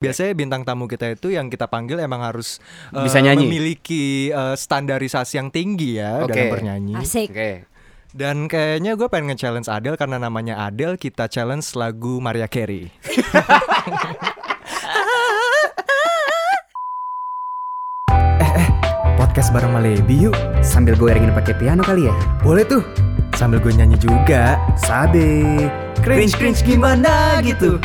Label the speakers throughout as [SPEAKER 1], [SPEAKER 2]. [SPEAKER 1] Biasanya bintang tamu kita itu yang kita panggil emang harus eh,
[SPEAKER 2] Bisa nyanyi.
[SPEAKER 1] memiliki eh, standarisasi yang tinggi ya dalam
[SPEAKER 2] Oke.
[SPEAKER 1] bernyanyi.
[SPEAKER 3] Asik.
[SPEAKER 2] Oke.
[SPEAKER 1] Dan kayaknya gue pengen nge-challenge Adele karena namanya Adele, kita challenge lagu Maria Carey. Eh, Podcast bareng Malebi yuk,
[SPEAKER 2] Sambil gue iringin pakai piano kali ya.
[SPEAKER 1] boleh tuh. Sambil gue nyanyi juga.
[SPEAKER 2] Sabe.
[SPEAKER 1] Cringe cringe gimana gitu.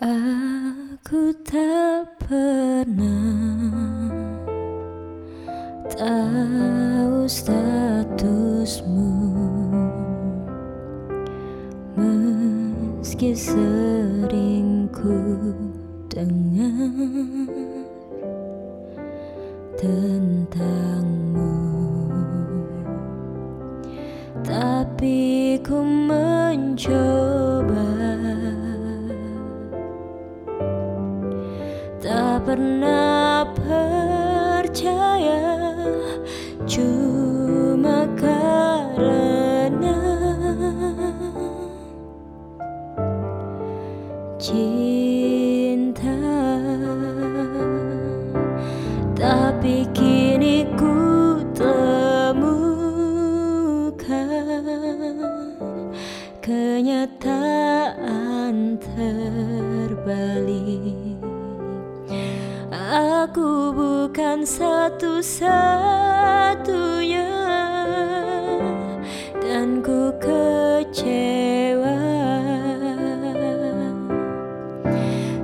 [SPEAKER 3] Aku tak pernah tahu statusmu Meski sering ku dengar tentangmu tapi ku mencoba Tak pernah percaya Cuma karena Cinta tapi kini ku temukan kenyataan terbalik Aku bukan satu-satunya Dan ku kecewa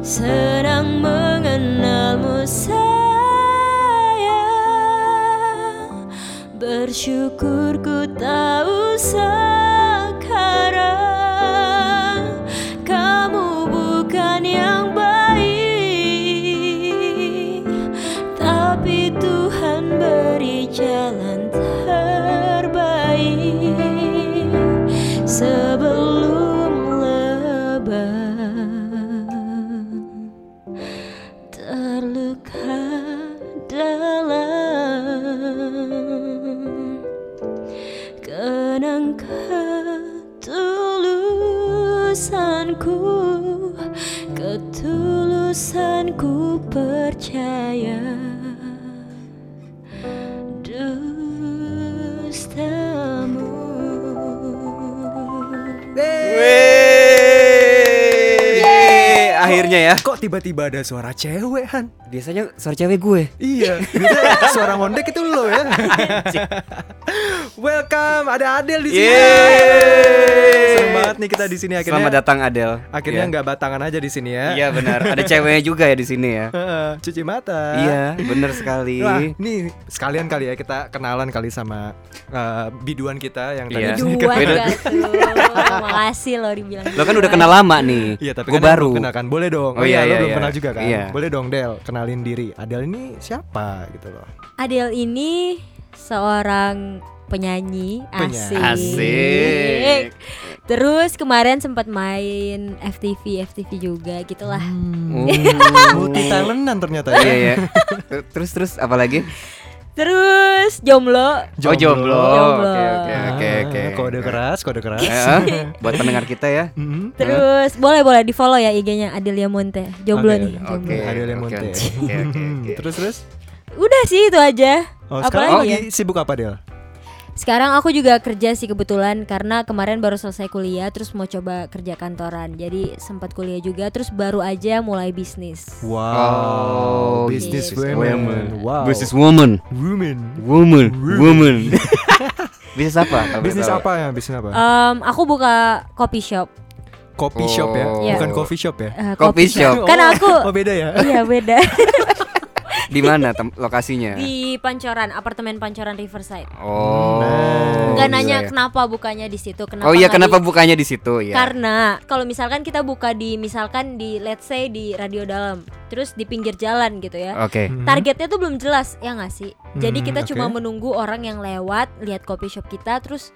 [SPEAKER 3] sedang mengenalmu sayang Bersyukur ku tahu sekarang Kamu bukan yang baik Tapi Tuhan beri jalan terbaik Sebelum lebah terluka dalam kenang ketulusanku ketulusanku percaya dustamu
[SPEAKER 2] Yeay, Akhirnya ya.
[SPEAKER 1] Kok tiba-tiba ada suara cewek Han?
[SPEAKER 2] Biasanya suara cewek gue.
[SPEAKER 1] Iya, biasanya suara ngondek itu lo ya. Welcome, ada Adele di sini.
[SPEAKER 2] Yeay.
[SPEAKER 1] Serem banget nih kita di sini akhirnya.
[SPEAKER 2] Selamat datang Adel.
[SPEAKER 1] Akhirnya
[SPEAKER 2] Iya.
[SPEAKER 1] nggak batangan aja di sini ya.
[SPEAKER 2] Iya benar. Ada ceweknya juga ya di sini ya.
[SPEAKER 1] Heeh, Cuci mata.
[SPEAKER 2] Iya, benar sekali.
[SPEAKER 1] Wah, nih sekalian kali ya kita kenalan kali sama eh, biduan kita yang tadi.
[SPEAKER 2] Iya.
[SPEAKER 3] Biduan
[SPEAKER 2] Biduan.
[SPEAKER 3] gak tuh Makasih lo dibilang
[SPEAKER 2] Lo kan
[SPEAKER 3] biduan.
[SPEAKER 2] udah kenal lama nih.
[SPEAKER 1] Iya, tapi
[SPEAKER 2] gue
[SPEAKER 1] kan yang
[SPEAKER 2] baru.
[SPEAKER 1] belum kenal kan. Boleh dong.
[SPEAKER 2] Oh
[SPEAKER 1] lo
[SPEAKER 2] iya, iya,
[SPEAKER 1] belum
[SPEAKER 2] iya.
[SPEAKER 1] kenal juga kan.
[SPEAKER 2] Iya.
[SPEAKER 1] Boleh dong, Del, kenalin diri. Adele ini siapa gitu loh.
[SPEAKER 2] Iya.
[SPEAKER 3] Adele ini seorang penyanyi asik.
[SPEAKER 2] Asik.
[SPEAKER 3] Terus kemarin sempat main FTV FTV juga gitulah.
[SPEAKER 1] Hmm. Multi talentan ternyata ya.
[SPEAKER 2] Hmm. Iya ya. Terus terus apa lagi?
[SPEAKER 3] Terus jomblo.
[SPEAKER 2] Oh, jomblo.
[SPEAKER 3] Jomblo.
[SPEAKER 2] Oke oke oke
[SPEAKER 1] Ah,
[SPEAKER 2] oke.
[SPEAKER 1] Kode Mm-hmm. keras, kode keras.
[SPEAKER 2] Eh, buat pendengar kita ya.
[SPEAKER 1] Mm-mm.
[SPEAKER 3] Terus boleh boleh di follow ya IG-nya Adelia Monte. Jomblo
[SPEAKER 1] Oke,
[SPEAKER 3] nih.
[SPEAKER 1] oke.
[SPEAKER 3] jomblo.
[SPEAKER 2] Oke.
[SPEAKER 1] Adele yang
[SPEAKER 2] oke,
[SPEAKER 1] Monte.
[SPEAKER 2] oke, oke, oke.
[SPEAKER 1] Terus terus.
[SPEAKER 3] Udah sih itu aja.
[SPEAKER 1] Oh,
[SPEAKER 3] Apalagi
[SPEAKER 1] sekarang
[SPEAKER 3] ya?
[SPEAKER 1] lagi sibuk apa, Del?
[SPEAKER 3] Sekarang aku juga kerja sih kebetulan karena kemarin baru selesai kuliah terus mau coba kerja kantoran. Jadi sempat kuliah juga terus baru aja mulai bisnis.
[SPEAKER 1] Wow,
[SPEAKER 2] Oh,
[SPEAKER 1] business
[SPEAKER 3] business
[SPEAKER 1] women. Wow.
[SPEAKER 2] Business woman.
[SPEAKER 1] women.
[SPEAKER 2] Woman. Woman. Bisnis apa? Kalau
[SPEAKER 1] Bisnis
[SPEAKER 2] tahu?
[SPEAKER 1] apa ya? Bisnis apa?
[SPEAKER 3] Em, aku buka coffee shop.
[SPEAKER 1] Kopi shop ya,
[SPEAKER 2] Oh.
[SPEAKER 1] bukan coffee shop ya.
[SPEAKER 3] Eh,
[SPEAKER 2] Coffee shop.
[SPEAKER 3] Kan
[SPEAKER 1] Oh,
[SPEAKER 3] aku
[SPEAKER 1] Oh beda ya.
[SPEAKER 3] iya beda
[SPEAKER 2] Di mana tem- lokasinya?
[SPEAKER 3] di Pancoran, apartemen Pancoran Riverside.
[SPEAKER 2] Oh.
[SPEAKER 3] Enggak
[SPEAKER 2] gila
[SPEAKER 3] nanya
[SPEAKER 2] ya.
[SPEAKER 3] kenapa bukanya di situ, kenapa
[SPEAKER 2] Oh iya
[SPEAKER 3] nggak
[SPEAKER 2] kenapa
[SPEAKER 3] di-
[SPEAKER 2] bukanya di situ ya?
[SPEAKER 3] Karena kalau misalkan kita buka di misalkan di let's say di radio dalam, terus di pinggir jalan gitu ya.
[SPEAKER 2] Oke.
[SPEAKER 1] Hmm.
[SPEAKER 3] Targetnya tuh belum jelas ya nggak sih? Jadi
[SPEAKER 1] Hmm,
[SPEAKER 3] kita cuma
[SPEAKER 1] oke.
[SPEAKER 3] menunggu orang yang lewat lihat coffee shop kita terus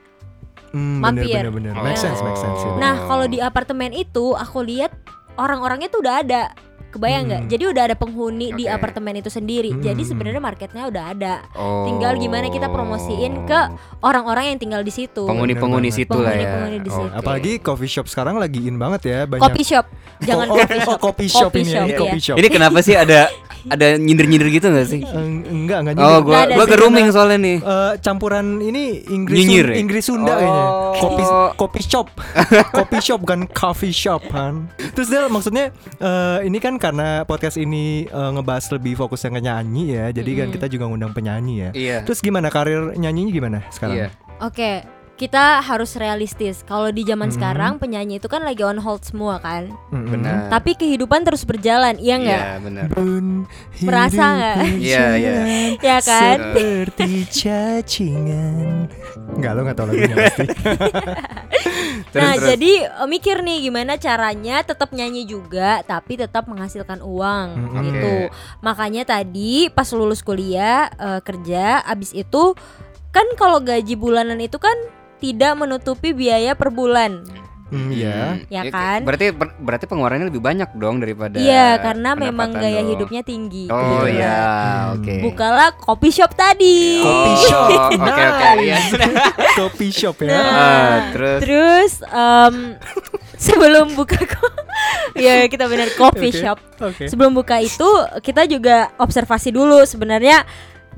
[SPEAKER 1] Hmm,
[SPEAKER 3] Mampir.
[SPEAKER 1] Bener, bener, bener. Make
[SPEAKER 3] Oh.
[SPEAKER 1] sense, make sense. ya.
[SPEAKER 2] Oh.
[SPEAKER 3] nah kalau di apartemen itu aku lihat orang-orangnya tuh udah ada Kebayang nggak?
[SPEAKER 1] Hmm.
[SPEAKER 3] Jadi udah ada penghuni di
[SPEAKER 2] Oke.
[SPEAKER 3] apartemen itu sendiri.
[SPEAKER 1] Hmm.
[SPEAKER 3] Jadi sebenarnya marketnya udah ada.
[SPEAKER 2] Oh.
[SPEAKER 3] Tinggal gimana kita promosiin ke orang-orang yang tinggal di situ.
[SPEAKER 2] penghuni-penghuni
[SPEAKER 1] Bener-bener.
[SPEAKER 2] situ lah ya.
[SPEAKER 3] Penghuni-penghuni di situ.
[SPEAKER 2] Oke.
[SPEAKER 1] Apalagi coffee shop sekarang lagi in banget ya banyak.
[SPEAKER 3] Nah. Kopi shop. Jangan
[SPEAKER 1] oh,
[SPEAKER 3] kopi
[SPEAKER 1] oh,
[SPEAKER 3] shop.
[SPEAKER 1] coffee shop
[SPEAKER 3] Coffee
[SPEAKER 1] ini,
[SPEAKER 3] shop,
[SPEAKER 1] ini
[SPEAKER 3] iya.
[SPEAKER 1] coffee shop.
[SPEAKER 2] Ini kenapa sih ada ada nyindir-nyindir gitu gak sih?
[SPEAKER 1] Eng- enggak enggak
[SPEAKER 2] Oh,
[SPEAKER 1] nyindir.
[SPEAKER 2] gua
[SPEAKER 3] Nggak ada
[SPEAKER 2] gua
[SPEAKER 3] sih,
[SPEAKER 2] geruming soalnya nih.
[SPEAKER 1] Eh, campuran ini Inggris
[SPEAKER 2] Nyinyir
[SPEAKER 1] Sun-
[SPEAKER 2] ya?
[SPEAKER 1] Inggris Sunda
[SPEAKER 2] Oh.
[SPEAKER 1] kayaknya. Kopi kopi shop. kopi shop bukan coffee shop kan. Terus dia maksudnya eh, ini kan karena podcast ini eh, ngebahas lebih fokusnya ke nyanyi ya. Jadi kan
[SPEAKER 3] Mm-mm.
[SPEAKER 1] kita juga ngundang penyanyi ya.
[SPEAKER 2] Iya.
[SPEAKER 1] Terus gimana karir nyanyinya gimana sekarang? Hmm.
[SPEAKER 2] Iya.
[SPEAKER 3] Oke, kita harus realistis. Kalau di
[SPEAKER 1] Mhm.
[SPEAKER 3] zaman sekarang penyanyi itu kan lagi on hold semua kan.
[SPEAKER 1] Mm-mm.
[SPEAKER 2] Benar.
[SPEAKER 3] Tapi kehidupan terus berjalan, iya nggak?
[SPEAKER 2] Iya, benar.
[SPEAKER 1] Pun
[SPEAKER 3] Merasa nggak?
[SPEAKER 1] hidup
[SPEAKER 2] Iya, iya.
[SPEAKER 1] berjalan
[SPEAKER 3] Ya kan?
[SPEAKER 1] Seperti cacingan. Enggak lo nggak tahu lagunya pasti.
[SPEAKER 2] Terus,
[SPEAKER 3] nah,
[SPEAKER 2] terus.
[SPEAKER 3] jadi eh, mikir nih gimana caranya tetap nyanyi juga tapi tetap menghasilkan uang
[SPEAKER 1] Mm,
[SPEAKER 3] gitu. Makanya tadi pas lulus kuliah eh, kerja abis itu kan kalau gaji bulanan itu kan tidak menutupi biaya per bulan.
[SPEAKER 1] Hmm, Iya.
[SPEAKER 2] Hmm.
[SPEAKER 3] Ya kan?
[SPEAKER 2] Berarti ber- berarti pengeluarannya lebih banyak dong daripada
[SPEAKER 3] Iya, karena memang
[SPEAKER 2] pendapatan
[SPEAKER 3] gaya
[SPEAKER 2] dong.
[SPEAKER 3] hidupnya tinggi.
[SPEAKER 2] Oh
[SPEAKER 3] gitu.
[SPEAKER 2] iya,
[SPEAKER 1] Hmm.
[SPEAKER 2] oke.
[SPEAKER 3] Bukalah kopi shop tadi.
[SPEAKER 1] Kopi
[SPEAKER 2] Oh,
[SPEAKER 1] shop.
[SPEAKER 2] Oke, oke. iya.
[SPEAKER 1] Kopi shop ya.
[SPEAKER 2] Ah,
[SPEAKER 3] Nah,
[SPEAKER 2] terus
[SPEAKER 3] terus em, sebelum buka ko- ya kita benar kopi
[SPEAKER 1] Oke.
[SPEAKER 3] shop.
[SPEAKER 1] Oke.
[SPEAKER 3] Sebelum buka itu kita juga observasi dulu sebenarnya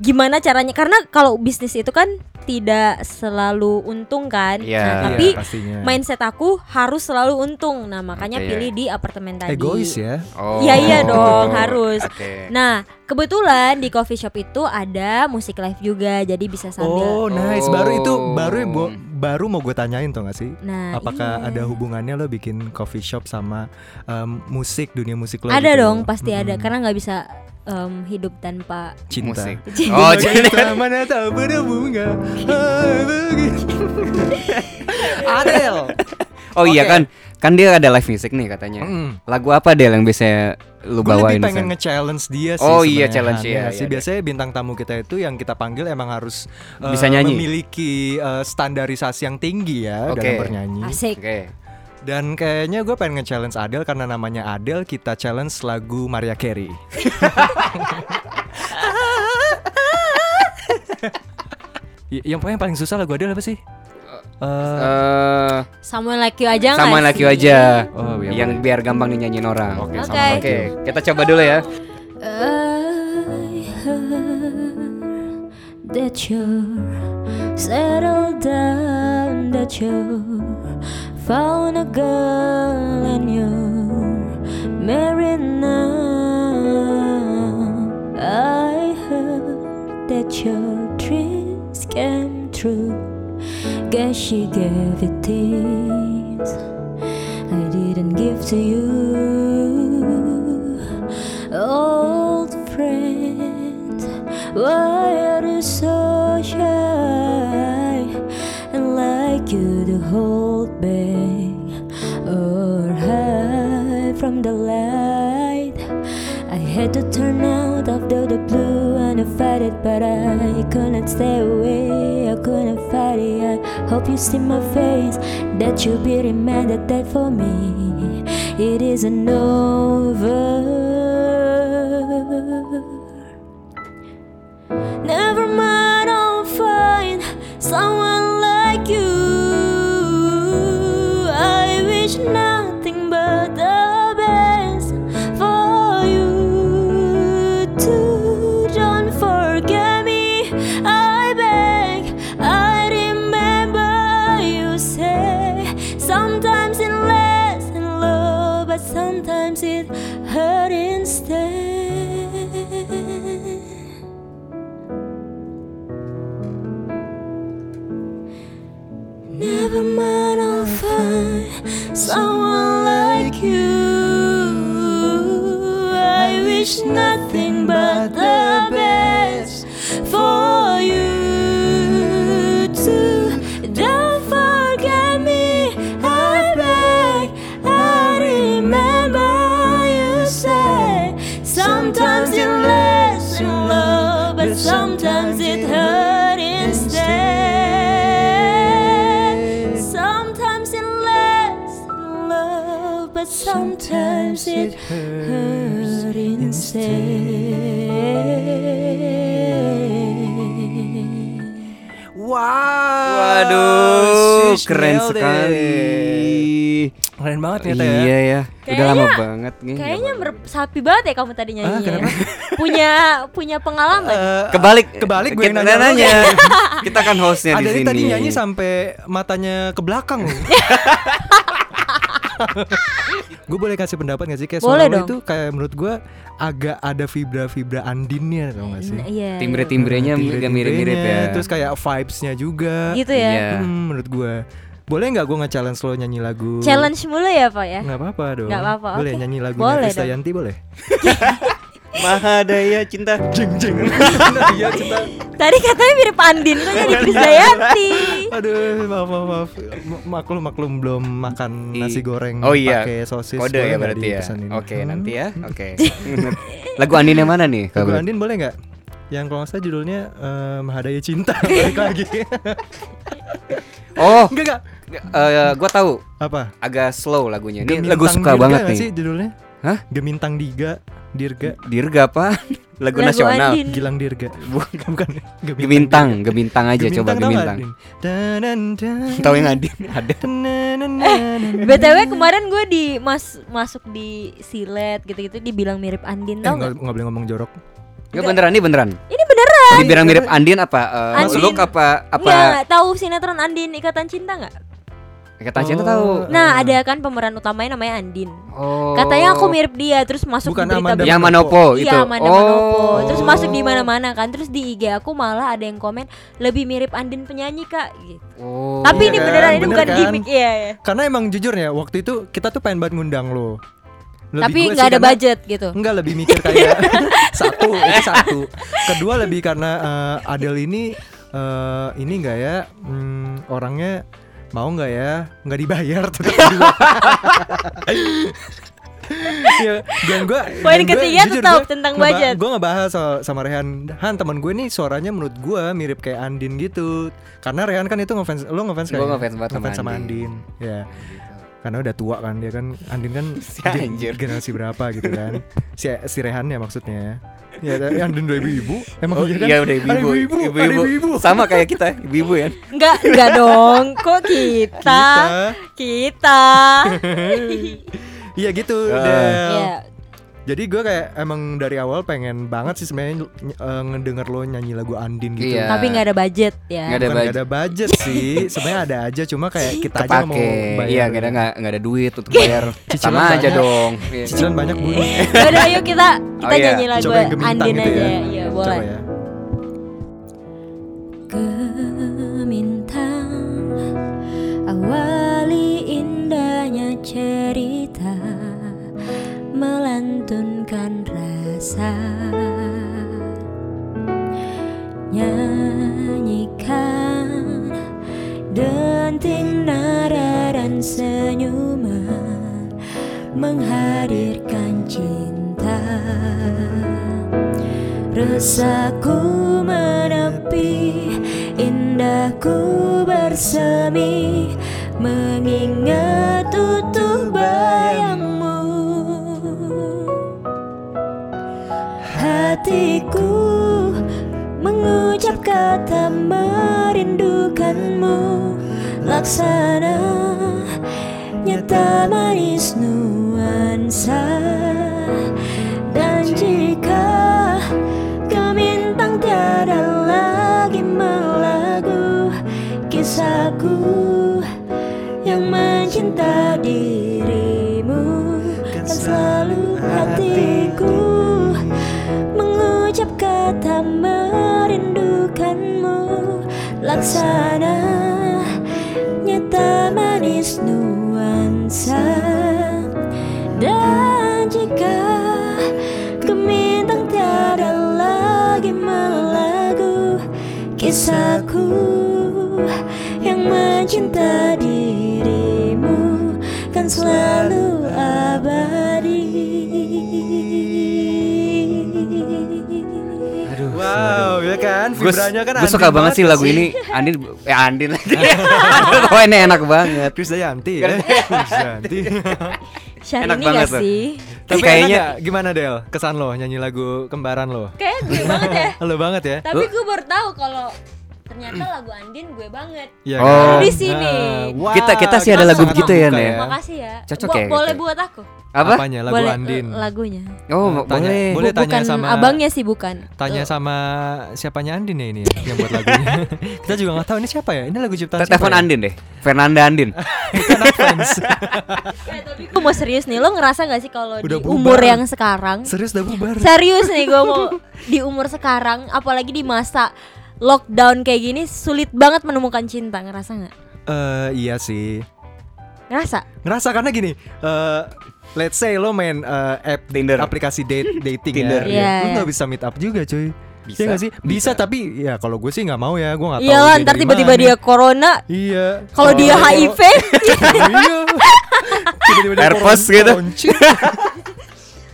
[SPEAKER 3] gimana caranya karena kalau bisnis itu kan tidak selalu untung kan.
[SPEAKER 2] Iya.
[SPEAKER 3] Nah,
[SPEAKER 2] Iya,
[SPEAKER 3] tapi
[SPEAKER 1] Iya, pastinya.
[SPEAKER 3] mindset aku harus selalu untung. Nah, makanya
[SPEAKER 2] Oke, ya.
[SPEAKER 3] pilih di apartemen tadi.
[SPEAKER 1] egois ya.
[SPEAKER 2] Oh.
[SPEAKER 3] Iya, iya dong, harus.
[SPEAKER 2] Oke.
[SPEAKER 3] Nah, kebetulan di coffee shop itu ada musik live juga, jadi bisa
[SPEAKER 1] Oh,
[SPEAKER 3] sambil.
[SPEAKER 1] nice.
[SPEAKER 2] Oh.
[SPEAKER 1] Baru itu baru bo- baru mau gue tanyain tuh gak sih?
[SPEAKER 3] Nah,
[SPEAKER 1] Apakah ada
[SPEAKER 3] iya.
[SPEAKER 1] hubungannya lo bikin coffee shop sama em, musik dunia musik lo?
[SPEAKER 3] Ada
[SPEAKER 1] gitu?
[SPEAKER 3] dong, pasti
[SPEAKER 1] Mm-mm.
[SPEAKER 3] ada karena nggak bisa em, hidup tanpa
[SPEAKER 1] cinta.
[SPEAKER 2] Musik.
[SPEAKER 3] Cinta.
[SPEAKER 2] Oh,
[SPEAKER 1] Bagai
[SPEAKER 2] jadi
[SPEAKER 1] mana Ah, tak berbunga. hai, begitu. Adele.
[SPEAKER 2] Oh iya
[SPEAKER 1] Oke.
[SPEAKER 2] kan, kan dia ada live music nih katanya.
[SPEAKER 1] Mm.
[SPEAKER 2] Lagu apa Del yang biasanya lu
[SPEAKER 1] Gue
[SPEAKER 2] bawain?
[SPEAKER 1] lebih pengen
[SPEAKER 2] San?
[SPEAKER 1] nge-challenge dia sih
[SPEAKER 2] Oh iya,
[SPEAKER 1] sebenarnya.
[SPEAKER 2] challenge,
[SPEAKER 1] Iya
[SPEAKER 2] iya,
[SPEAKER 1] sih.
[SPEAKER 2] iya,
[SPEAKER 1] Biasanya bintang tamu kita itu yang kita panggil emang harus eh,
[SPEAKER 2] Bisa nyanyi.
[SPEAKER 1] Memiliki eh, standarisasi yang tinggi ya
[SPEAKER 2] Oke.
[SPEAKER 1] dalam bernyanyi
[SPEAKER 3] asik.
[SPEAKER 2] Hmm, Oke.
[SPEAKER 1] Dan kayaknya gue pengen nge-challenge Adele karena namanya Adele kita challenge lagu Maria Carey Y- yang paling paling susah lagu Adele apa sih? Eh,
[SPEAKER 2] Eh,
[SPEAKER 3] Someone like you aja nggak
[SPEAKER 2] sama like
[SPEAKER 3] sih?
[SPEAKER 2] you aja.
[SPEAKER 1] Oh, iya,
[SPEAKER 2] yang biar gampang dinyanyiin orang.
[SPEAKER 1] Oke,
[SPEAKER 3] sama Oke. like
[SPEAKER 2] Oke, kita coba dulu ya.
[SPEAKER 3] I heard that you settled down, that you found a girl and you're married now. I heard that your dreams came true. Guess she gave it things I didn't give to you old friend. Why are you so shy? And like you to hold back or hide from the light. I had to turn out after the blue and I fight it, but I couldn't stay away. I couldn't fight it. I hope you see my face that you'll be reminded that for me it isn't over. Never mind, I'll find someone like you. I wish nothing but the best for you. Too. Don't forget me, I beg. I remember you say sometimes it lasts in love, but sometimes it hurt instead. Never mind, I'll find someone like you. I wish nothing but the best for you too. Don't forget me, I beg. I remember you say sometimes it lasts in love, but sometimes it hurt instead. Sometimes it lasts in love, but sometimes it hurts stay.
[SPEAKER 1] Wow.
[SPEAKER 2] Waduh,
[SPEAKER 1] sheesh,
[SPEAKER 2] keren
[SPEAKER 1] nailed it.
[SPEAKER 2] sekali.
[SPEAKER 1] Keren banget ternyata ya.
[SPEAKER 2] Iya ya, udah lama
[SPEAKER 3] Kayaknya-
[SPEAKER 2] banget nih.
[SPEAKER 3] Kayaknya meresapi banget ya kamu tadi
[SPEAKER 1] Ah,
[SPEAKER 3] nyanyinya.
[SPEAKER 1] kenapa?
[SPEAKER 3] punya punya pengalaman.
[SPEAKER 1] Eh,
[SPEAKER 2] Kebalik,
[SPEAKER 1] Kebalik gue yang
[SPEAKER 2] Kita-
[SPEAKER 1] nanya.
[SPEAKER 2] Kita kan hostnya di
[SPEAKER 1] Ada
[SPEAKER 2] sini.
[SPEAKER 1] yang tadi nyanyi sampai matanya ke belakang loh. gue boleh kasih pendapat gak sih kayak
[SPEAKER 3] Boleh
[SPEAKER 1] suara lo
[SPEAKER 3] dong.
[SPEAKER 1] itu kayak menurut gue agak ada vibra-vibra Andinnya tau gak sih?
[SPEAKER 3] Nah, Iya.
[SPEAKER 2] timbre-timbrenya
[SPEAKER 1] Timbre-timbrenya,
[SPEAKER 2] agak mirip-mirip ya.
[SPEAKER 1] Terus kayak vibes-nya juga.
[SPEAKER 3] Gitu ya.
[SPEAKER 2] Iya.
[SPEAKER 1] Hmm, menurut gue. Boleh nggak gue nge-challenge lo nyanyi lagu?
[SPEAKER 3] Challenge mulu ya, Pak ya.
[SPEAKER 1] Nggak apa-apa dong.
[SPEAKER 3] Nggak apa-apa,
[SPEAKER 1] Boleh
[SPEAKER 3] oke.
[SPEAKER 1] nyanyi lagu
[SPEAKER 3] Boleh dong.
[SPEAKER 1] Krisdayanti boleh.
[SPEAKER 2] Mahadaya cinta.
[SPEAKER 1] Jing jing. Iya cinta.
[SPEAKER 3] Tadi katanya mirip Andin kok jadi Krisdayanti.
[SPEAKER 1] Aduh, maaf maaf. maaf. M- Maklum maklum belum makan
[SPEAKER 2] I-
[SPEAKER 1] nasi goreng
[SPEAKER 2] oh, iya.
[SPEAKER 1] pakai sosis.
[SPEAKER 2] Kode
[SPEAKER 1] boleh
[SPEAKER 2] ya
[SPEAKER 1] nggak
[SPEAKER 2] berarti ya.
[SPEAKER 1] dipesenin?
[SPEAKER 2] Oke,
[SPEAKER 1] Hmm.
[SPEAKER 2] nanti ya. Oke. Lagu Andin yang mana nih?
[SPEAKER 1] Lagu
[SPEAKER 2] Kabar?
[SPEAKER 1] Andin boleh nggak? Yang kalau nggak salah judulnya eh, Mahadaya Cinta balik lagi.
[SPEAKER 2] Oh,
[SPEAKER 1] Enggak enggak.
[SPEAKER 2] eh, gua tahu.
[SPEAKER 1] Apa?
[SPEAKER 2] Agak slow lagunya. Ini
[SPEAKER 1] Gemintang
[SPEAKER 2] lagu suka
[SPEAKER 1] Dirga
[SPEAKER 2] banget
[SPEAKER 1] nggak
[SPEAKER 2] nih.
[SPEAKER 1] sih judulnya?
[SPEAKER 2] Hah?
[SPEAKER 1] Gemintang Diga, Dirga,
[SPEAKER 2] Dirga apa? Lagu,
[SPEAKER 3] Lagu
[SPEAKER 2] nasional.
[SPEAKER 3] Andin.
[SPEAKER 1] Gilang Dirga. Bukan, bukan. ya?
[SPEAKER 2] Gemintang, gemintang aja coba gemintang. Tahu yang Andin ada.
[SPEAKER 3] BTW kemarin gue di mas masuk di silet gitu-gitu dibilang mirip
[SPEAKER 1] Eh,
[SPEAKER 3] Andin tau
[SPEAKER 1] nggak
[SPEAKER 3] nggak?
[SPEAKER 1] nggak boleh ngomong jorok.
[SPEAKER 2] Enggak beneran ini beneran.
[SPEAKER 3] Ini beneran.
[SPEAKER 2] Jadi bilang mirip Andin apa? eh,
[SPEAKER 3] Andin.
[SPEAKER 2] Look apa apa?
[SPEAKER 3] Nggak, nggak. tahu sinetron Andin Ikatan Cinta nggak?
[SPEAKER 2] Kata cinta
[SPEAKER 1] Oh.
[SPEAKER 2] tahu.
[SPEAKER 3] Nah ada kan pemeran utamanya namanya Andin.
[SPEAKER 2] Oh.
[SPEAKER 3] Katanya aku mirip dia terip terus masuk
[SPEAKER 1] Bukan
[SPEAKER 3] di
[SPEAKER 1] Amanda
[SPEAKER 3] berita
[SPEAKER 2] Yang
[SPEAKER 1] Manopo.
[SPEAKER 2] Manopo itu.
[SPEAKER 3] Iya Amanda Manopo Terus masuk di
[SPEAKER 2] Oh.
[SPEAKER 3] mana-mana kan Terus di IG aku malah ada yang komen Lebih mirip Andin penyanyi kak gitu.
[SPEAKER 2] Oh.
[SPEAKER 3] Tapi
[SPEAKER 1] iya
[SPEAKER 3] ini
[SPEAKER 1] kan,
[SPEAKER 3] beneran ini
[SPEAKER 1] bener
[SPEAKER 3] bukan
[SPEAKER 1] kan?
[SPEAKER 3] gimmick Iya, iya.
[SPEAKER 1] Karena emang jujur ya, waktu itu kita tuh pengen banget ngundang lo. Lebih
[SPEAKER 3] Tapi
[SPEAKER 1] gua sih
[SPEAKER 3] nggak ada
[SPEAKER 1] karena-
[SPEAKER 3] budget gitu
[SPEAKER 1] Enggak lebih mikir kayak satu itu satu. Kedua lebih karena eh, Adele ini eh, ini enggak ya hmm, orangnya mau nggak ya nggak dibayar tuh kedua. ya, dan gue
[SPEAKER 3] Poin ketiga tetap tentang budget.
[SPEAKER 1] Gue ngebahas soal, sama Rehan Han teman gue nih suaranya menurut gue mirip kayak Andin gitu Karena Rehan kan itu ngefans Lo ngefans kayaknya?
[SPEAKER 2] Gua ngefans banget sama
[SPEAKER 1] sama Andin,
[SPEAKER 2] Andin.
[SPEAKER 1] Ya karena udah tua kan dia kan Andin kan
[SPEAKER 2] Si
[SPEAKER 1] gen-
[SPEAKER 2] anjir.
[SPEAKER 1] generasi berapa gitu kan si, si Rehan ya maksudnya ya tapi Andin udah ibu-ibu emang
[SPEAKER 2] Oh,
[SPEAKER 1] iya kan
[SPEAKER 2] iya udah
[SPEAKER 1] Ada
[SPEAKER 2] ibu-ibu,
[SPEAKER 1] ibu-ibu ada
[SPEAKER 2] ibu-ibu.
[SPEAKER 1] ibu-ibu
[SPEAKER 2] Sama kayak kita, ibu-ibu ya.
[SPEAKER 3] Enggak, enggak dong Kok kita Kita
[SPEAKER 1] iya gitu
[SPEAKER 2] Ah.
[SPEAKER 1] Del.
[SPEAKER 3] Iya
[SPEAKER 1] jadi gue kayak emang dari awal pengen banget sih sebenarnya ny- eh, ngedenger lo nyanyi lagu Andin gitu
[SPEAKER 2] Iya.
[SPEAKER 3] Tapi nggak ada budget
[SPEAKER 2] Nggak
[SPEAKER 3] ya
[SPEAKER 2] ada
[SPEAKER 1] Bukan nggak
[SPEAKER 2] budget.
[SPEAKER 1] ada budget sih sebenarnya ada aja cuma kayak kita aja nggak mau
[SPEAKER 2] Kepake.
[SPEAKER 1] bayar
[SPEAKER 2] Iya, nggak ada nggak nggak ada duit untuk bayar. Sama aja
[SPEAKER 1] banyak.
[SPEAKER 2] dong. Iya.
[SPEAKER 1] cicilan banyak bu
[SPEAKER 3] Yaudah yuk kita Kita
[SPEAKER 2] Oh, iya.
[SPEAKER 3] nyanyi lagu
[SPEAKER 1] coba yang gemintang
[SPEAKER 3] Andin
[SPEAKER 1] gitu
[SPEAKER 3] aja
[SPEAKER 1] ya
[SPEAKER 3] Iya
[SPEAKER 1] coba
[SPEAKER 3] boleh
[SPEAKER 1] ya
[SPEAKER 3] Gemintang Awali indahnya cerita Melantunkan rasa Nyanyikan Denting nara dan senyuman Menghadirkan cinta Resahku menepi, indahku bersemi Mengingat tutup bayangmu Hatiku mengucap kata merindukanmu Laksana nyata manis nuansa Dan jika gemintang tiada lagi melagu Kisahku yang mencinta dirimu Kan selalu hatiku Mengucap kata merindukanmu Laksana nyata manis nuansa Dan jika gemintang tiada lagi melagu Kisahku yang mencinta dirimu Kan selalu abadi
[SPEAKER 2] Aduh.
[SPEAKER 1] wow ya kan
[SPEAKER 2] Gue
[SPEAKER 1] vibranya kan
[SPEAKER 2] suka
[SPEAKER 1] Andin
[SPEAKER 2] banget sih lagu ini. Andin eh Andin lagi. Wah, ini enak banget. Kan
[SPEAKER 1] eh, Krisdayanti ya. Krisdayanti.
[SPEAKER 3] Syahrini
[SPEAKER 2] Enak
[SPEAKER 3] gak
[SPEAKER 2] banget tuh.
[SPEAKER 3] sih?
[SPEAKER 1] Tapi
[SPEAKER 2] Iya. kayaknya-
[SPEAKER 1] kayaknya gimana Del? Kesan lo nyanyi lagu kembaran lo.
[SPEAKER 3] Kayaknya gue banget ya.
[SPEAKER 1] Lo banget ya?
[SPEAKER 3] Tapi gue baru tahu kalau ternyata lagu Andin gue banget.
[SPEAKER 1] Iya
[SPEAKER 2] Oh.
[SPEAKER 1] kan?
[SPEAKER 3] Di sini.
[SPEAKER 1] Nah, wah,
[SPEAKER 2] Kita- kita sih ada
[SPEAKER 1] sangat
[SPEAKER 3] lagu begitu
[SPEAKER 2] ya,
[SPEAKER 1] terbuka
[SPEAKER 2] Nen.
[SPEAKER 3] Makasih ya.
[SPEAKER 2] Cocok
[SPEAKER 3] Bo-
[SPEAKER 2] ya,
[SPEAKER 3] Boleh
[SPEAKER 2] gitu.
[SPEAKER 3] buat aku?
[SPEAKER 2] Apa?
[SPEAKER 1] ya? Apanya lagu
[SPEAKER 3] boleh,
[SPEAKER 1] Andin?
[SPEAKER 3] eh, lagunya.
[SPEAKER 1] Nah,
[SPEAKER 2] Oh,
[SPEAKER 1] tanya,
[SPEAKER 2] boleh.
[SPEAKER 1] boleh tanya
[SPEAKER 3] bukan
[SPEAKER 1] sama
[SPEAKER 3] abangnya sih bukan.
[SPEAKER 1] Tanya sama siapanya Andin ya ini ya, yang buat lagunya. Kita juga nggak tahu ini siapa ya. Ini lagu ciptaan
[SPEAKER 2] Kita
[SPEAKER 1] siapa?
[SPEAKER 2] telepon
[SPEAKER 1] ya?
[SPEAKER 2] Andin deh. Fernanda Andin.
[SPEAKER 1] Bukan Advance.
[SPEAKER 3] Eh, tapi gue mau serius nih, lo ngerasa gak sih kalau di
[SPEAKER 1] Udah bubar.
[SPEAKER 3] umur yang sekarang
[SPEAKER 1] Serius udah bubar.
[SPEAKER 3] Serius nih gue mau di umur sekarang apalagi di masa lockdown kayak gini sulit banget menemukan cinta ngerasa nggak
[SPEAKER 1] Eh, iya sih.
[SPEAKER 3] ngerasa
[SPEAKER 1] Ngerasa karena gini, eh let's say lo main eh, app
[SPEAKER 2] Tinder.
[SPEAKER 1] aplikasi date dating
[SPEAKER 2] Tinder.
[SPEAKER 1] ya.
[SPEAKER 3] Iya,
[SPEAKER 1] Lo
[SPEAKER 3] iya.
[SPEAKER 1] nggak bisa meet up juga, cuy.
[SPEAKER 2] Bisa,
[SPEAKER 1] Iya nggak sih? Bisa,
[SPEAKER 2] bisa.
[SPEAKER 1] tapi ya kalau gue sih nggak mau ya, gue nggak tahu. dia
[SPEAKER 3] iyalah Iya ntar
[SPEAKER 1] dari
[SPEAKER 3] tiba-tiba
[SPEAKER 1] mana.
[SPEAKER 3] dia corona
[SPEAKER 1] Iya.
[SPEAKER 3] kalau dia
[SPEAKER 1] Kalau-
[SPEAKER 3] HIV
[SPEAKER 1] iya. Tiba-tiba dia
[SPEAKER 2] Herpes
[SPEAKER 1] koron-
[SPEAKER 2] gitu.
[SPEAKER 1] koronci.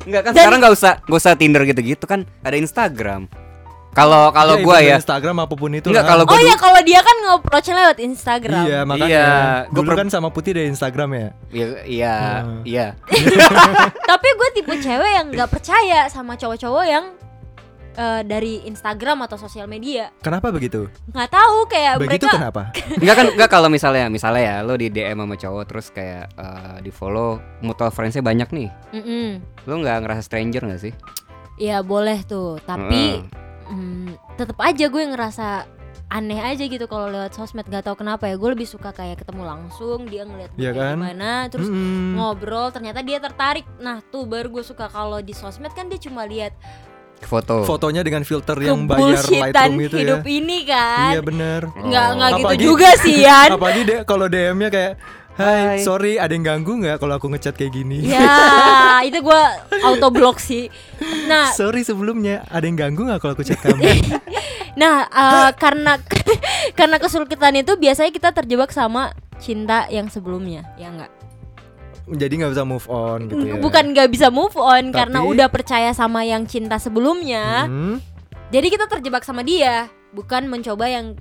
[SPEAKER 2] Enggak kan
[SPEAKER 3] Dan-
[SPEAKER 2] sekarang enggak usah enggak usah Tinder gitu-gitu kan ada Instagram. Kalau kalau
[SPEAKER 1] Iya,
[SPEAKER 2] gua
[SPEAKER 1] even
[SPEAKER 2] ya.
[SPEAKER 1] Instagram apapun itu.
[SPEAKER 2] Enggak
[SPEAKER 1] lah.
[SPEAKER 2] kalau gua
[SPEAKER 3] oh
[SPEAKER 2] dulu-
[SPEAKER 3] ya kalau dia kan nge-approach-nya lewat Instagram
[SPEAKER 1] Iya, makanya.
[SPEAKER 2] Iya, gua
[SPEAKER 1] Dulu
[SPEAKER 2] per-
[SPEAKER 1] kan sama Putih dari Instagram ya.
[SPEAKER 2] Iya, iya,
[SPEAKER 1] Hmm.
[SPEAKER 2] iya.
[SPEAKER 3] tapi gue tipe cewek yang nggak percaya sama cowok-cowok yang eh, dari Instagram atau sosial media
[SPEAKER 1] Kenapa begitu?
[SPEAKER 3] nggak tahu kayak
[SPEAKER 1] Begitu
[SPEAKER 3] Eh, mereka
[SPEAKER 1] kenapa?
[SPEAKER 2] Enggak kan enggak kalau misalnya misalnya ya lo di DM sama cowok terus kayak eh, di follow mutual friends-nya banyak nih.
[SPEAKER 3] Mm-mm.
[SPEAKER 2] Lo nggak ngerasa stranger nggak sih?
[SPEAKER 3] Iya boleh tuh, tapi mm, tetep aja gue ngerasa aneh aja gitu kalau lewat sosmed gak tahu kenapa ya gue lebih suka kayak ketemu langsung dia ngeliat gue
[SPEAKER 1] Iya
[SPEAKER 3] kayak
[SPEAKER 1] kan? Mm.
[SPEAKER 3] gimana terus
[SPEAKER 1] Mm-mm.
[SPEAKER 3] ngobrol ternyata dia tertarik nah tuh baru gue suka kalau di sosmed kan dia cuma lihat
[SPEAKER 2] Foto.
[SPEAKER 1] Fotonya dengan filter yang bayar
[SPEAKER 3] kebullshitan
[SPEAKER 1] Lightroom itu
[SPEAKER 3] hidup
[SPEAKER 1] ya.
[SPEAKER 3] ini kan
[SPEAKER 1] Iya benar.
[SPEAKER 3] nggak nggak gitu
[SPEAKER 1] Apalagi-
[SPEAKER 3] juga sih Yan
[SPEAKER 1] Apalagi deh kalau DM-nya kayak Hai,
[SPEAKER 2] Hai.
[SPEAKER 1] sorry ada yang ganggu nggak kalau aku ngechat kayak gini?
[SPEAKER 3] ya itu gue auto block sih nah
[SPEAKER 1] sorry sebelumnya ada yang ganggu nggak kalau aku chat kamu?
[SPEAKER 3] Nah, eh, karena karena kesulitan itu biasanya kita terjebak sama cinta yang sebelumnya, ya enggak?
[SPEAKER 1] Jadi nggak bisa move on gitu ya.
[SPEAKER 3] Mm, Bukan nggak bisa move on karena
[SPEAKER 1] Tapi-
[SPEAKER 3] udah percaya sama yang cinta sebelumnya.
[SPEAKER 1] Hmm,
[SPEAKER 3] Jadi kita terjebak sama dia, bukan mencoba yang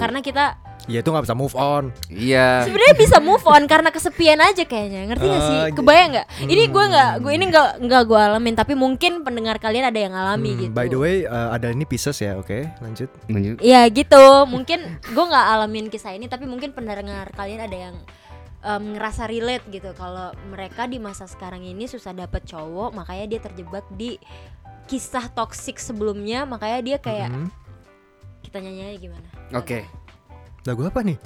[SPEAKER 2] Baru.
[SPEAKER 3] karena kita
[SPEAKER 1] ya itu nggak bisa move on. Ah.
[SPEAKER 2] Iya.
[SPEAKER 3] sebenarnya bisa move on karena kesepian aja kayaknya. Ngerti gak sih?
[SPEAKER 1] Eh,
[SPEAKER 3] Kebayang nggak? Ini gue
[SPEAKER 1] hmm.
[SPEAKER 3] nggak gue ini nggak nggak gue alamin, tapi mungkin pendengar kalian ada yang alami
[SPEAKER 1] Hmm,
[SPEAKER 3] gitu.
[SPEAKER 1] By the way, eh, ada ini pieces ya, oke? Lanjut.
[SPEAKER 2] Menju-
[SPEAKER 3] Ya gitu, mungkin gue nggak alamin kisah ini, tapi mungkin pendengar kalian ada yang em, ngerasa relate gitu. Kalau mereka di masa sekarang ini susah dapet cowok, makanya dia terjebak di kisah toksik sebelumnya, makanya dia kayak
[SPEAKER 1] Hmm.
[SPEAKER 3] kita nyanyi aja gimana?
[SPEAKER 2] Oke.
[SPEAKER 1] Lagu apa nih?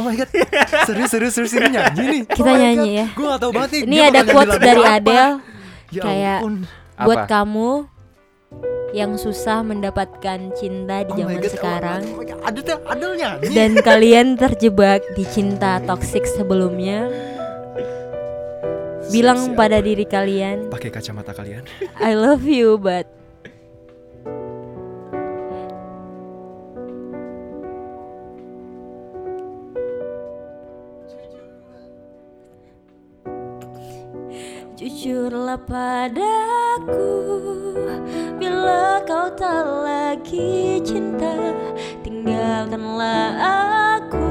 [SPEAKER 1] Oh my god. Serius serius serius ini nyanyi nih.
[SPEAKER 3] Kita
[SPEAKER 1] Oh my
[SPEAKER 3] nyanyi
[SPEAKER 1] God.
[SPEAKER 3] ya.
[SPEAKER 1] Gua gak tahu banget nih.
[SPEAKER 3] Ini
[SPEAKER 1] dia
[SPEAKER 3] ada
[SPEAKER 1] bakal nyanyi
[SPEAKER 3] quotes
[SPEAKER 1] lagu
[SPEAKER 3] dari
[SPEAKER 1] apa.
[SPEAKER 3] Adele
[SPEAKER 1] Ya
[SPEAKER 3] kayak-
[SPEAKER 1] ampun.
[SPEAKER 3] buat
[SPEAKER 2] Apa?
[SPEAKER 3] kamu yang susah mendapatkan cinta di
[SPEAKER 1] Oh my
[SPEAKER 3] zaman
[SPEAKER 1] God, oh my
[SPEAKER 3] sekarang.
[SPEAKER 1] God, oh my God. Adele Adele nyanyi.
[SPEAKER 3] dan kalian terjebak di cinta toksik sebelumnya bilang
[SPEAKER 1] Siapa?
[SPEAKER 3] pada diri kalian
[SPEAKER 1] Pakai kacamata kalian.
[SPEAKER 3] I love you but Jujurlah padaku Bila kau tak lagi cinta Tinggalkanlah aku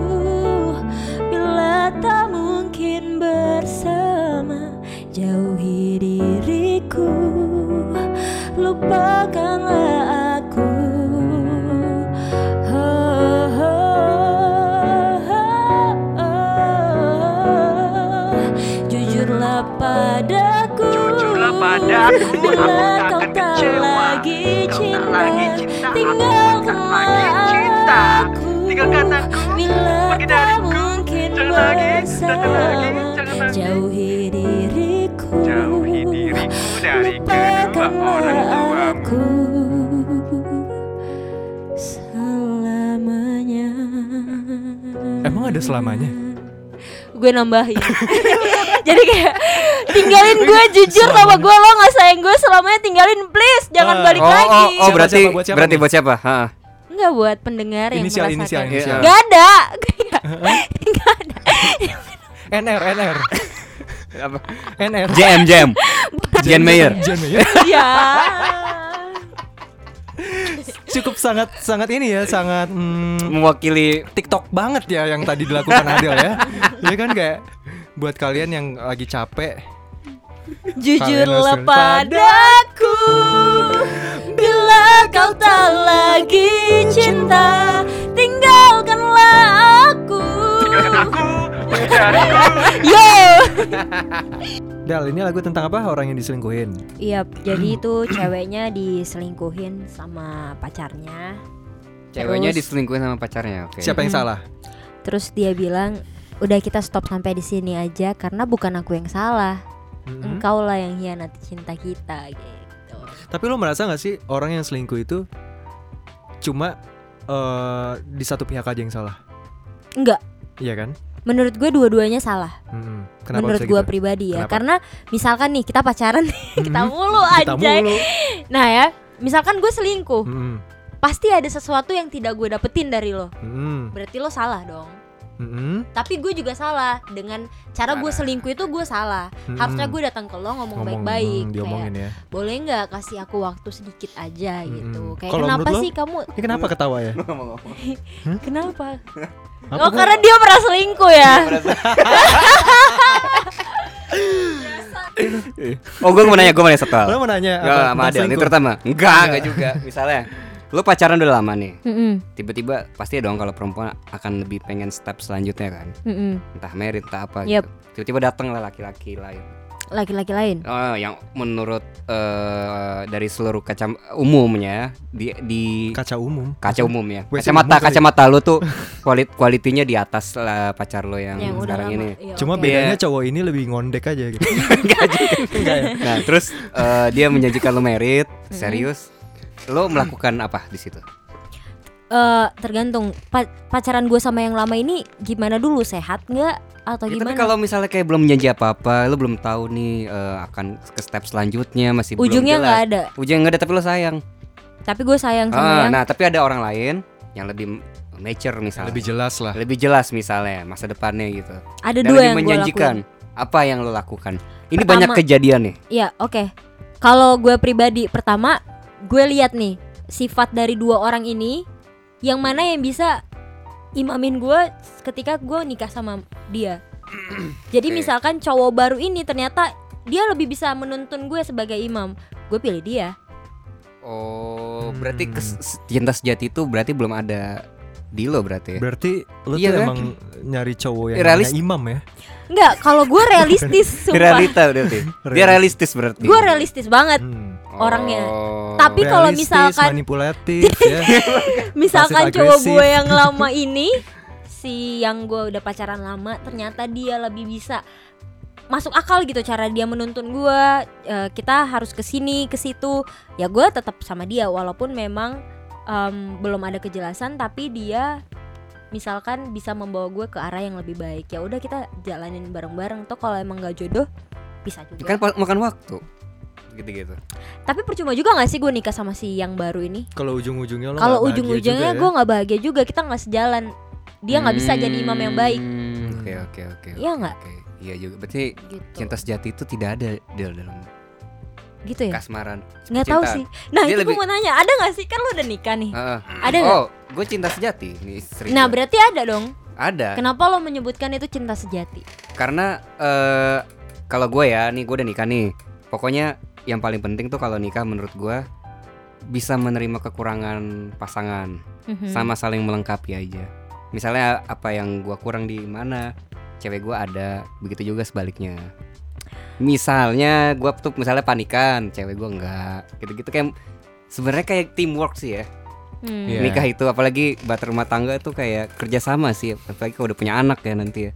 [SPEAKER 3] Bila tak mungkin bersama Jauhi diriku Lupakanlah aku Oh, oh, oh, oh. Jujurlah padaku
[SPEAKER 4] Jujurlah padaku, aku tak
[SPEAKER 3] Bila
[SPEAKER 4] akan
[SPEAKER 3] kau tak
[SPEAKER 4] kecewa.
[SPEAKER 3] lagi
[SPEAKER 4] Kau tak
[SPEAKER 3] cinta,
[SPEAKER 4] lagi cinta, aku tak
[SPEAKER 3] Tinggalkanlah
[SPEAKER 4] lagi cinta.
[SPEAKER 3] aku
[SPEAKER 4] Tinggalkan aku,
[SPEAKER 3] Bila
[SPEAKER 4] pergi
[SPEAKER 3] tak
[SPEAKER 4] dariku.
[SPEAKER 3] mungkin
[SPEAKER 4] Jangan lagi,
[SPEAKER 3] bersama
[SPEAKER 4] jangan lagi, jangan lagi.
[SPEAKER 3] Jauhi diriku
[SPEAKER 4] Jauhi diriku dari kedua orang
[SPEAKER 3] Lupakanlah
[SPEAKER 4] tuamu.
[SPEAKER 3] aku Selamanya
[SPEAKER 1] Emang ada selamanya?
[SPEAKER 3] Gue nambahin Jadi kayak Tinggalin gue jujur sama gue Lo gak sayang gue selamanya tinggalin please Jangan
[SPEAKER 1] Ah,
[SPEAKER 3] balik
[SPEAKER 2] Oh,
[SPEAKER 3] lagi
[SPEAKER 2] oh, oh
[SPEAKER 1] Siapa,
[SPEAKER 2] berarti
[SPEAKER 1] siapa, buat siapa
[SPEAKER 2] berarti
[SPEAKER 1] nih?
[SPEAKER 2] buat siapa? Ha.
[SPEAKER 3] Enggak buat pendengar yang
[SPEAKER 1] Inisial,
[SPEAKER 3] merasakan
[SPEAKER 1] inisial, inisial.
[SPEAKER 3] Gak ada Gak- Gak ada
[SPEAKER 1] NR NR
[SPEAKER 2] Apa?
[SPEAKER 1] NR.
[SPEAKER 2] JM JM. Jan Mayer.
[SPEAKER 1] Jan Mayer.
[SPEAKER 3] Ya
[SPEAKER 1] Cukup sangat sangat ini ya, sangat mm,
[SPEAKER 2] Mewakili
[SPEAKER 1] TikTok banget ya yang tadi dilakukan Adele ya. Iya kan kayak buat kalian yang lagi capek
[SPEAKER 3] Jujurlah
[SPEAKER 1] Kalian langsung
[SPEAKER 3] padaku Bila kau tak lagi cinta Tinggalkanlah aku
[SPEAKER 4] Aku dariku
[SPEAKER 3] Yo
[SPEAKER 1] Dal, ini lagu tentang apa? Orang yang diselingkuhin.
[SPEAKER 3] Iya, jadi itu ceweknya diselingkuhin sama pacarnya
[SPEAKER 2] Ceweknya
[SPEAKER 3] Terus-
[SPEAKER 2] diselingkuhin sama pacarnya. Oke.
[SPEAKER 1] Siapa yang salah?
[SPEAKER 3] Terus dia bilang Udah kita stop sampai di sini aja Karena bukan aku yang salah
[SPEAKER 1] Mm-mm.
[SPEAKER 3] Engkau lah yang hianati cinta kita gitu
[SPEAKER 1] Tapi lo merasa gak sih orang yang selingkuh itu cuma eh, di satu pihak aja yang salah?
[SPEAKER 3] Enggak,
[SPEAKER 1] Iya kan?
[SPEAKER 3] menurut gue dua-duanya salah
[SPEAKER 1] Mm-mm. Kenapa
[SPEAKER 3] menurut
[SPEAKER 1] bisa
[SPEAKER 3] gue
[SPEAKER 1] gitu?
[SPEAKER 3] pribadi ya
[SPEAKER 1] Kenapa?
[SPEAKER 3] karena misalkan nih kita pacaran nih, kita
[SPEAKER 1] Mm-mm.
[SPEAKER 3] mulu
[SPEAKER 1] Kita
[SPEAKER 3] anjay
[SPEAKER 1] mulu. Mm. Hmm.
[SPEAKER 3] nah ya misalkan gue selingkuh
[SPEAKER 1] Mm-mm.
[SPEAKER 3] pasti ada sesuatu yang tidak gue dapetin dari lo
[SPEAKER 1] Mm-mm.
[SPEAKER 3] berarti lo salah dong
[SPEAKER 1] Mm-mm.
[SPEAKER 3] tapi gue juga salah dengan cara gue
[SPEAKER 2] Parah.
[SPEAKER 3] selingkuh itu gue salah
[SPEAKER 1] Mm-mm.
[SPEAKER 3] harusnya gue datang ke lo ngomong
[SPEAKER 1] Hmm. Ngomong,
[SPEAKER 3] baik-baik
[SPEAKER 1] mm,
[SPEAKER 3] kayak
[SPEAKER 1] diomongin ya.
[SPEAKER 3] boleh nggak kasih aku waktu sedikit aja gitu
[SPEAKER 1] Mm-mm.
[SPEAKER 3] kayak
[SPEAKER 1] Kalau
[SPEAKER 3] kenapa
[SPEAKER 1] menurut lo?
[SPEAKER 3] sih kamu
[SPEAKER 1] Ini kenapa ketawa ya?
[SPEAKER 3] kenapa
[SPEAKER 1] Apa
[SPEAKER 3] oh
[SPEAKER 1] gua-
[SPEAKER 3] karena dia pernah selingkuh ya
[SPEAKER 2] Oh gue mau nanya, gue mau nanya satu hal.
[SPEAKER 1] Lo mau nanya apa
[SPEAKER 2] Gak sama
[SPEAKER 1] tentang
[SPEAKER 2] Adel, ini
[SPEAKER 1] selingkuh?
[SPEAKER 2] terutama Enggak, enggak juga Misalnya Lu pacaran udah lama nih
[SPEAKER 3] Mm-mm,
[SPEAKER 2] Tiba-tiba pasti dong kalau perempuan akan lebih pengen step selanjutnya kan
[SPEAKER 3] mm-mm.
[SPEAKER 2] Entah merit, entah apa
[SPEAKER 3] Yep.
[SPEAKER 2] gitu Tiba-tiba datang lah laki-laki lain
[SPEAKER 3] laki-laki lain
[SPEAKER 2] Oh, Yang menurut eh, dari seluruh kaca umumnya Di, di
[SPEAKER 1] Kaca umum.
[SPEAKER 2] kaca umum ya
[SPEAKER 1] WC
[SPEAKER 2] Kacamata,
[SPEAKER 1] umum kali.
[SPEAKER 2] kacamata lu tuh kualit kualitinya di atas lah pacar lu yang,
[SPEAKER 3] yang udah
[SPEAKER 2] sekarang
[SPEAKER 3] lama
[SPEAKER 2] ini
[SPEAKER 3] Iya,
[SPEAKER 1] Cuma
[SPEAKER 3] oke.
[SPEAKER 1] bedanya
[SPEAKER 2] Iya.
[SPEAKER 1] cowok ini lebih ngondek aja gitu. Enggak ya?
[SPEAKER 2] Nah terus eh, dia menjanjikan lu merit,
[SPEAKER 3] Mm-hmm.
[SPEAKER 2] serius Lu melakukan apa di situ?
[SPEAKER 3] Eh, tergantung Pa- pacaran gue sama yang lama ini gimana dulu sehat nggak atau
[SPEAKER 2] Ya, tapi
[SPEAKER 3] gimana?
[SPEAKER 2] kalau misalnya kayak belum janji apa-apa, lu belum tahu nih eh, akan ke step selanjutnya masih belum
[SPEAKER 3] Ujungnya nggak
[SPEAKER 2] jelas.
[SPEAKER 3] ada.
[SPEAKER 2] Ujungnya nggak ada tapi lu sayang.
[SPEAKER 3] Tapi gue sayang
[SPEAKER 2] Ah,
[SPEAKER 3] sama yang
[SPEAKER 2] nah, tapi ada orang lain yang lebih mature misalnya.
[SPEAKER 1] Lebih jelas lah.
[SPEAKER 2] Lebih jelas misalnya masa depannya gitu.
[SPEAKER 3] ada
[SPEAKER 2] Dan lebih
[SPEAKER 3] dua yang gue
[SPEAKER 2] menjanjikan.
[SPEAKER 3] lakuin.
[SPEAKER 2] Apa yang lu lakukan? Ini
[SPEAKER 3] Pertama-
[SPEAKER 2] banyak kejadian nih.
[SPEAKER 3] Iya oke. Kalau gue pribadi pertama gue lihat nih sifat dari dua orang ini yang mana yang bisa imamin gue ketika gue nikah sama dia. Jadi
[SPEAKER 2] Oke.
[SPEAKER 3] misalkan cowok baru ini ternyata dia lebih bisa menuntun gue sebagai imam, gue pilih dia.
[SPEAKER 2] Oh,
[SPEAKER 1] Hmm.
[SPEAKER 2] berarti kes- cinta sejati itu berarti belum ada di lo berarti. ya?
[SPEAKER 1] Berarti lu
[SPEAKER 2] Iya
[SPEAKER 1] tuh
[SPEAKER 2] kan?
[SPEAKER 1] emang nyari cowok yang
[SPEAKER 2] Realis-
[SPEAKER 1] namanya imam ya?
[SPEAKER 3] Enggak, kalau gue realistis sumpah.
[SPEAKER 2] Realita berarti. Dia realistis berarti.
[SPEAKER 3] Gue realistis banget.
[SPEAKER 1] Hmm.
[SPEAKER 3] orangnya.
[SPEAKER 2] Oh.
[SPEAKER 3] Tapi kalau
[SPEAKER 1] Realistis,
[SPEAKER 3] misalkan-
[SPEAKER 1] manipulatif ya.
[SPEAKER 3] Misalkan
[SPEAKER 1] Pasif
[SPEAKER 3] cowok
[SPEAKER 1] agresif.
[SPEAKER 3] gue yang lama ini si yang gue udah pacaran lama ternyata dia lebih bisa masuk akal gitu cara dia menuntun gue eh, kita harus ke sini ke situ ya gue tetap sama dia walaupun memang em, belum ada kejelasan tapi dia misalkan bisa membawa gue ke arah yang lebih baik ya udah kita jalanin bareng-bareng toh kalau emang gak jodoh bisa juga
[SPEAKER 2] kan pa- makan waktu. Gitu-gitu.
[SPEAKER 3] tapi percuma juga gak sih gue nikah sama si yang baru ini
[SPEAKER 1] Kalau ujung-ujungnya lo nggak
[SPEAKER 3] kalau
[SPEAKER 1] bahagia juga
[SPEAKER 3] ujung-ujungnya
[SPEAKER 1] ya,
[SPEAKER 3] gue nggak bahagia juga ya? kita nggak sejalan dia nggak bisa jadi imam yang baik
[SPEAKER 2] Hmm, Oke oke oke.
[SPEAKER 3] Iya
[SPEAKER 2] oke,
[SPEAKER 3] nggak?
[SPEAKER 2] oke. Iya juga. Berarti
[SPEAKER 3] gitu
[SPEAKER 2] cinta sejati itu tidak ada di dalam
[SPEAKER 3] gitu ya
[SPEAKER 2] kasmaran.
[SPEAKER 3] nggak tahu
[SPEAKER 2] percintaan.
[SPEAKER 3] sih nah
[SPEAKER 2] Dia
[SPEAKER 3] itu gue
[SPEAKER 2] lebih-
[SPEAKER 3] mau nanya ada nggak sih kan lo udah nikah nih
[SPEAKER 2] Heeh.
[SPEAKER 3] Ada nggak?
[SPEAKER 2] Oh, gue cinta sejati nih istri.
[SPEAKER 3] nah
[SPEAKER 2] gua.
[SPEAKER 3] berarti ada dong
[SPEAKER 2] ada.
[SPEAKER 3] kenapa lo menyebutkan itu cinta sejati
[SPEAKER 2] Karena eh kalau gue ya, nih gue udah nikah nih. Pokoknya yang paling penting tuh kalau nikah menurut gue bisa menerima kekurangan pasangan
[SPEAKER 3] Mhm.
[SPEAKER 2] sama saling melengkapi aja. Misalnya apa yang gua kurang di mana, cewek gua ada, begitu juga sebaliknya. Misalnya gua tuh misalnya panikan, cewek gua enggak. Gitu-gitu kayak sebenarnya kayak teamwork sih ya.
[SPEAKER 3] Hmm.
[SPEAKER 1] Iya.
[SPEAKER 2] Nikah itu apalagi bater rumah tangga tuh kayak kerjasama sih, apalagi kalau udah punya anak ya nanti ya.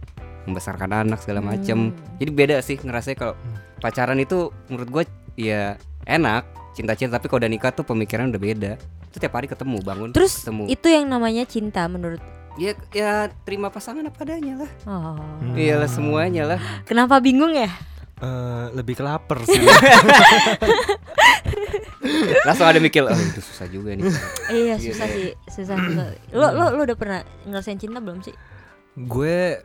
[SPEAKER 2] Membesarkan anak segala macem
[SPEAKER 3] Hmm.
[SPEAKER 2] Jadi beda sih ngerasanya kalau pacaran itu menurut gua ya enak, cinta-cinta tapi kalau udah nikah tuh pemikiran udah beda. Itu tiap hari ketemu, bangun
[SPEAKER 3] terus
[SPEAKER 2] ketemu.
[SPEAKER 3] itu yang namanya cinta menurut
[SPEAKER 2] Ya, ya terima pasangan apa adanya lah.
[SPEAKER 3] oh
[SPEAKER 1] Hmm.
[SPEAKER 2] Iyalah semuanya lah.
[SPEAKER 3] kenapa bingung ya
[SPEAKER 1] Eh, lebih ke lapar sih.
[SPEAKER 2] Langsung ada mikir, oh itu susah juga nih. Iya,
[SPEAKER 3] iya susah
[SPEAKER 2] iya.
[SPEAKER 3] sih susah, susah. lo lo lo udah pernah ngerasain cinta belum sih
[SPEAKER 1] gue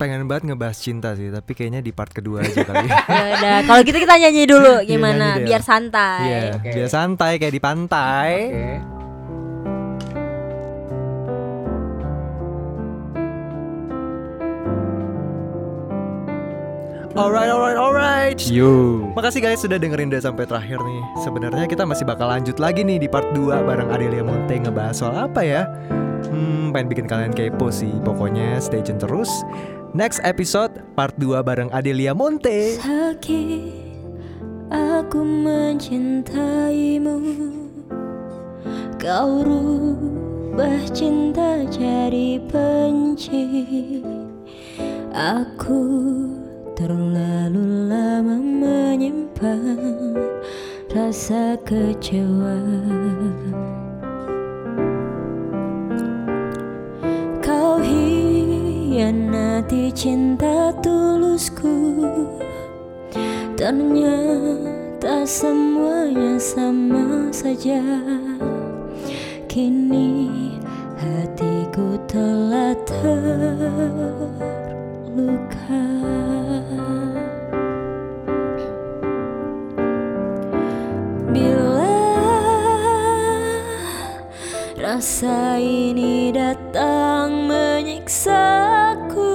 [SPEAKER 1] pengen banget ngebahas cinta sih, tapi kayaknya di part kedua aja kali.
[SPEAKER 3] Ya udah kalau gitu kita nyanyi dulu
[SPEAKER 1] Iya,
[SPEAKER 3] gimana
[SPEAKER 1] nyanyi deh.
[SPEAKER 3] biar santai
[SPEAKER 1] Iya,
[SPEAKER 2] Oke.
[SPEAKER 1] biar santai kayak di pantai. Alright, alright, alright.
[SPEAKER 2] Yo.
[SPEAKER 1] Makasih guys sudah dengerin udah sampai terakhir nih. Sebenarnya kita masih bakal lanjut lagi nih di part 2 bareng Adelia Monte ngebahas soal apa ya? Hmm, pengen bikin kalian kepo sih. Pokoknya stay tune terus. Next episode part 2 bareng Adelia Monte.
[SPEAKER 3] Sakit aku mencintaimu Kau rubah cinta jadi benci Aku terlalu lama menyimpan rasa kecewa Kau hianati cinta tulusku Ternyata semuanya sama saja Kini hatiku telah terluka Bila rasa ini datang menyiksaku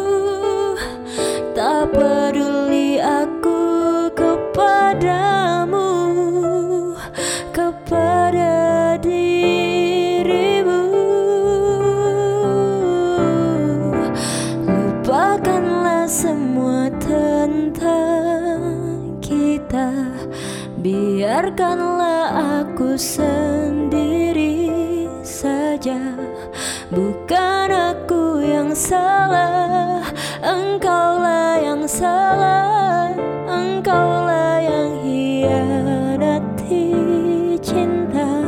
[SPEAKER 3] Tak peduli aku kepadamu Kepada dirimu Lupakanlah semua tentang kita Biarkanlah aku sendiri saja Bukan aku yang salah Engkaulah yang salah Engkaulah yang hianati cinta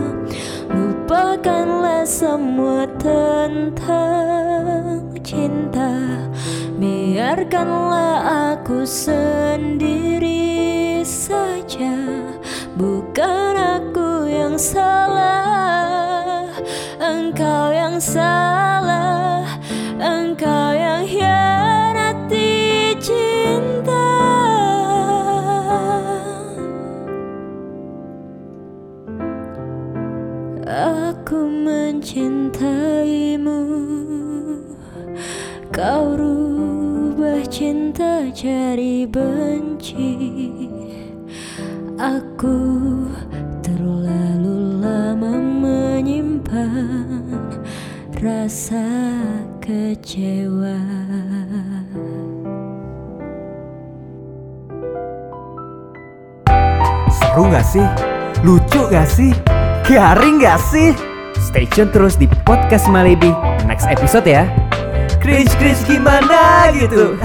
[SPEAKER 3] Lupakanlah semua tentang cinta Biarkanlah aku sendiri saja Bukan aku yang salah Engkau yang salah Engkau yang hianati cinta Aku mencintaimu Kau rubah cinta jadi benci Aku terlalu lama menyimpan Rasa kecewa
[SPEAKER 5] Seru gak sih? Lucu gak sih? Garing gak sih? Stay tune terus di Podcast Malibi next episode ya. Cringe-cringe gimana gitu.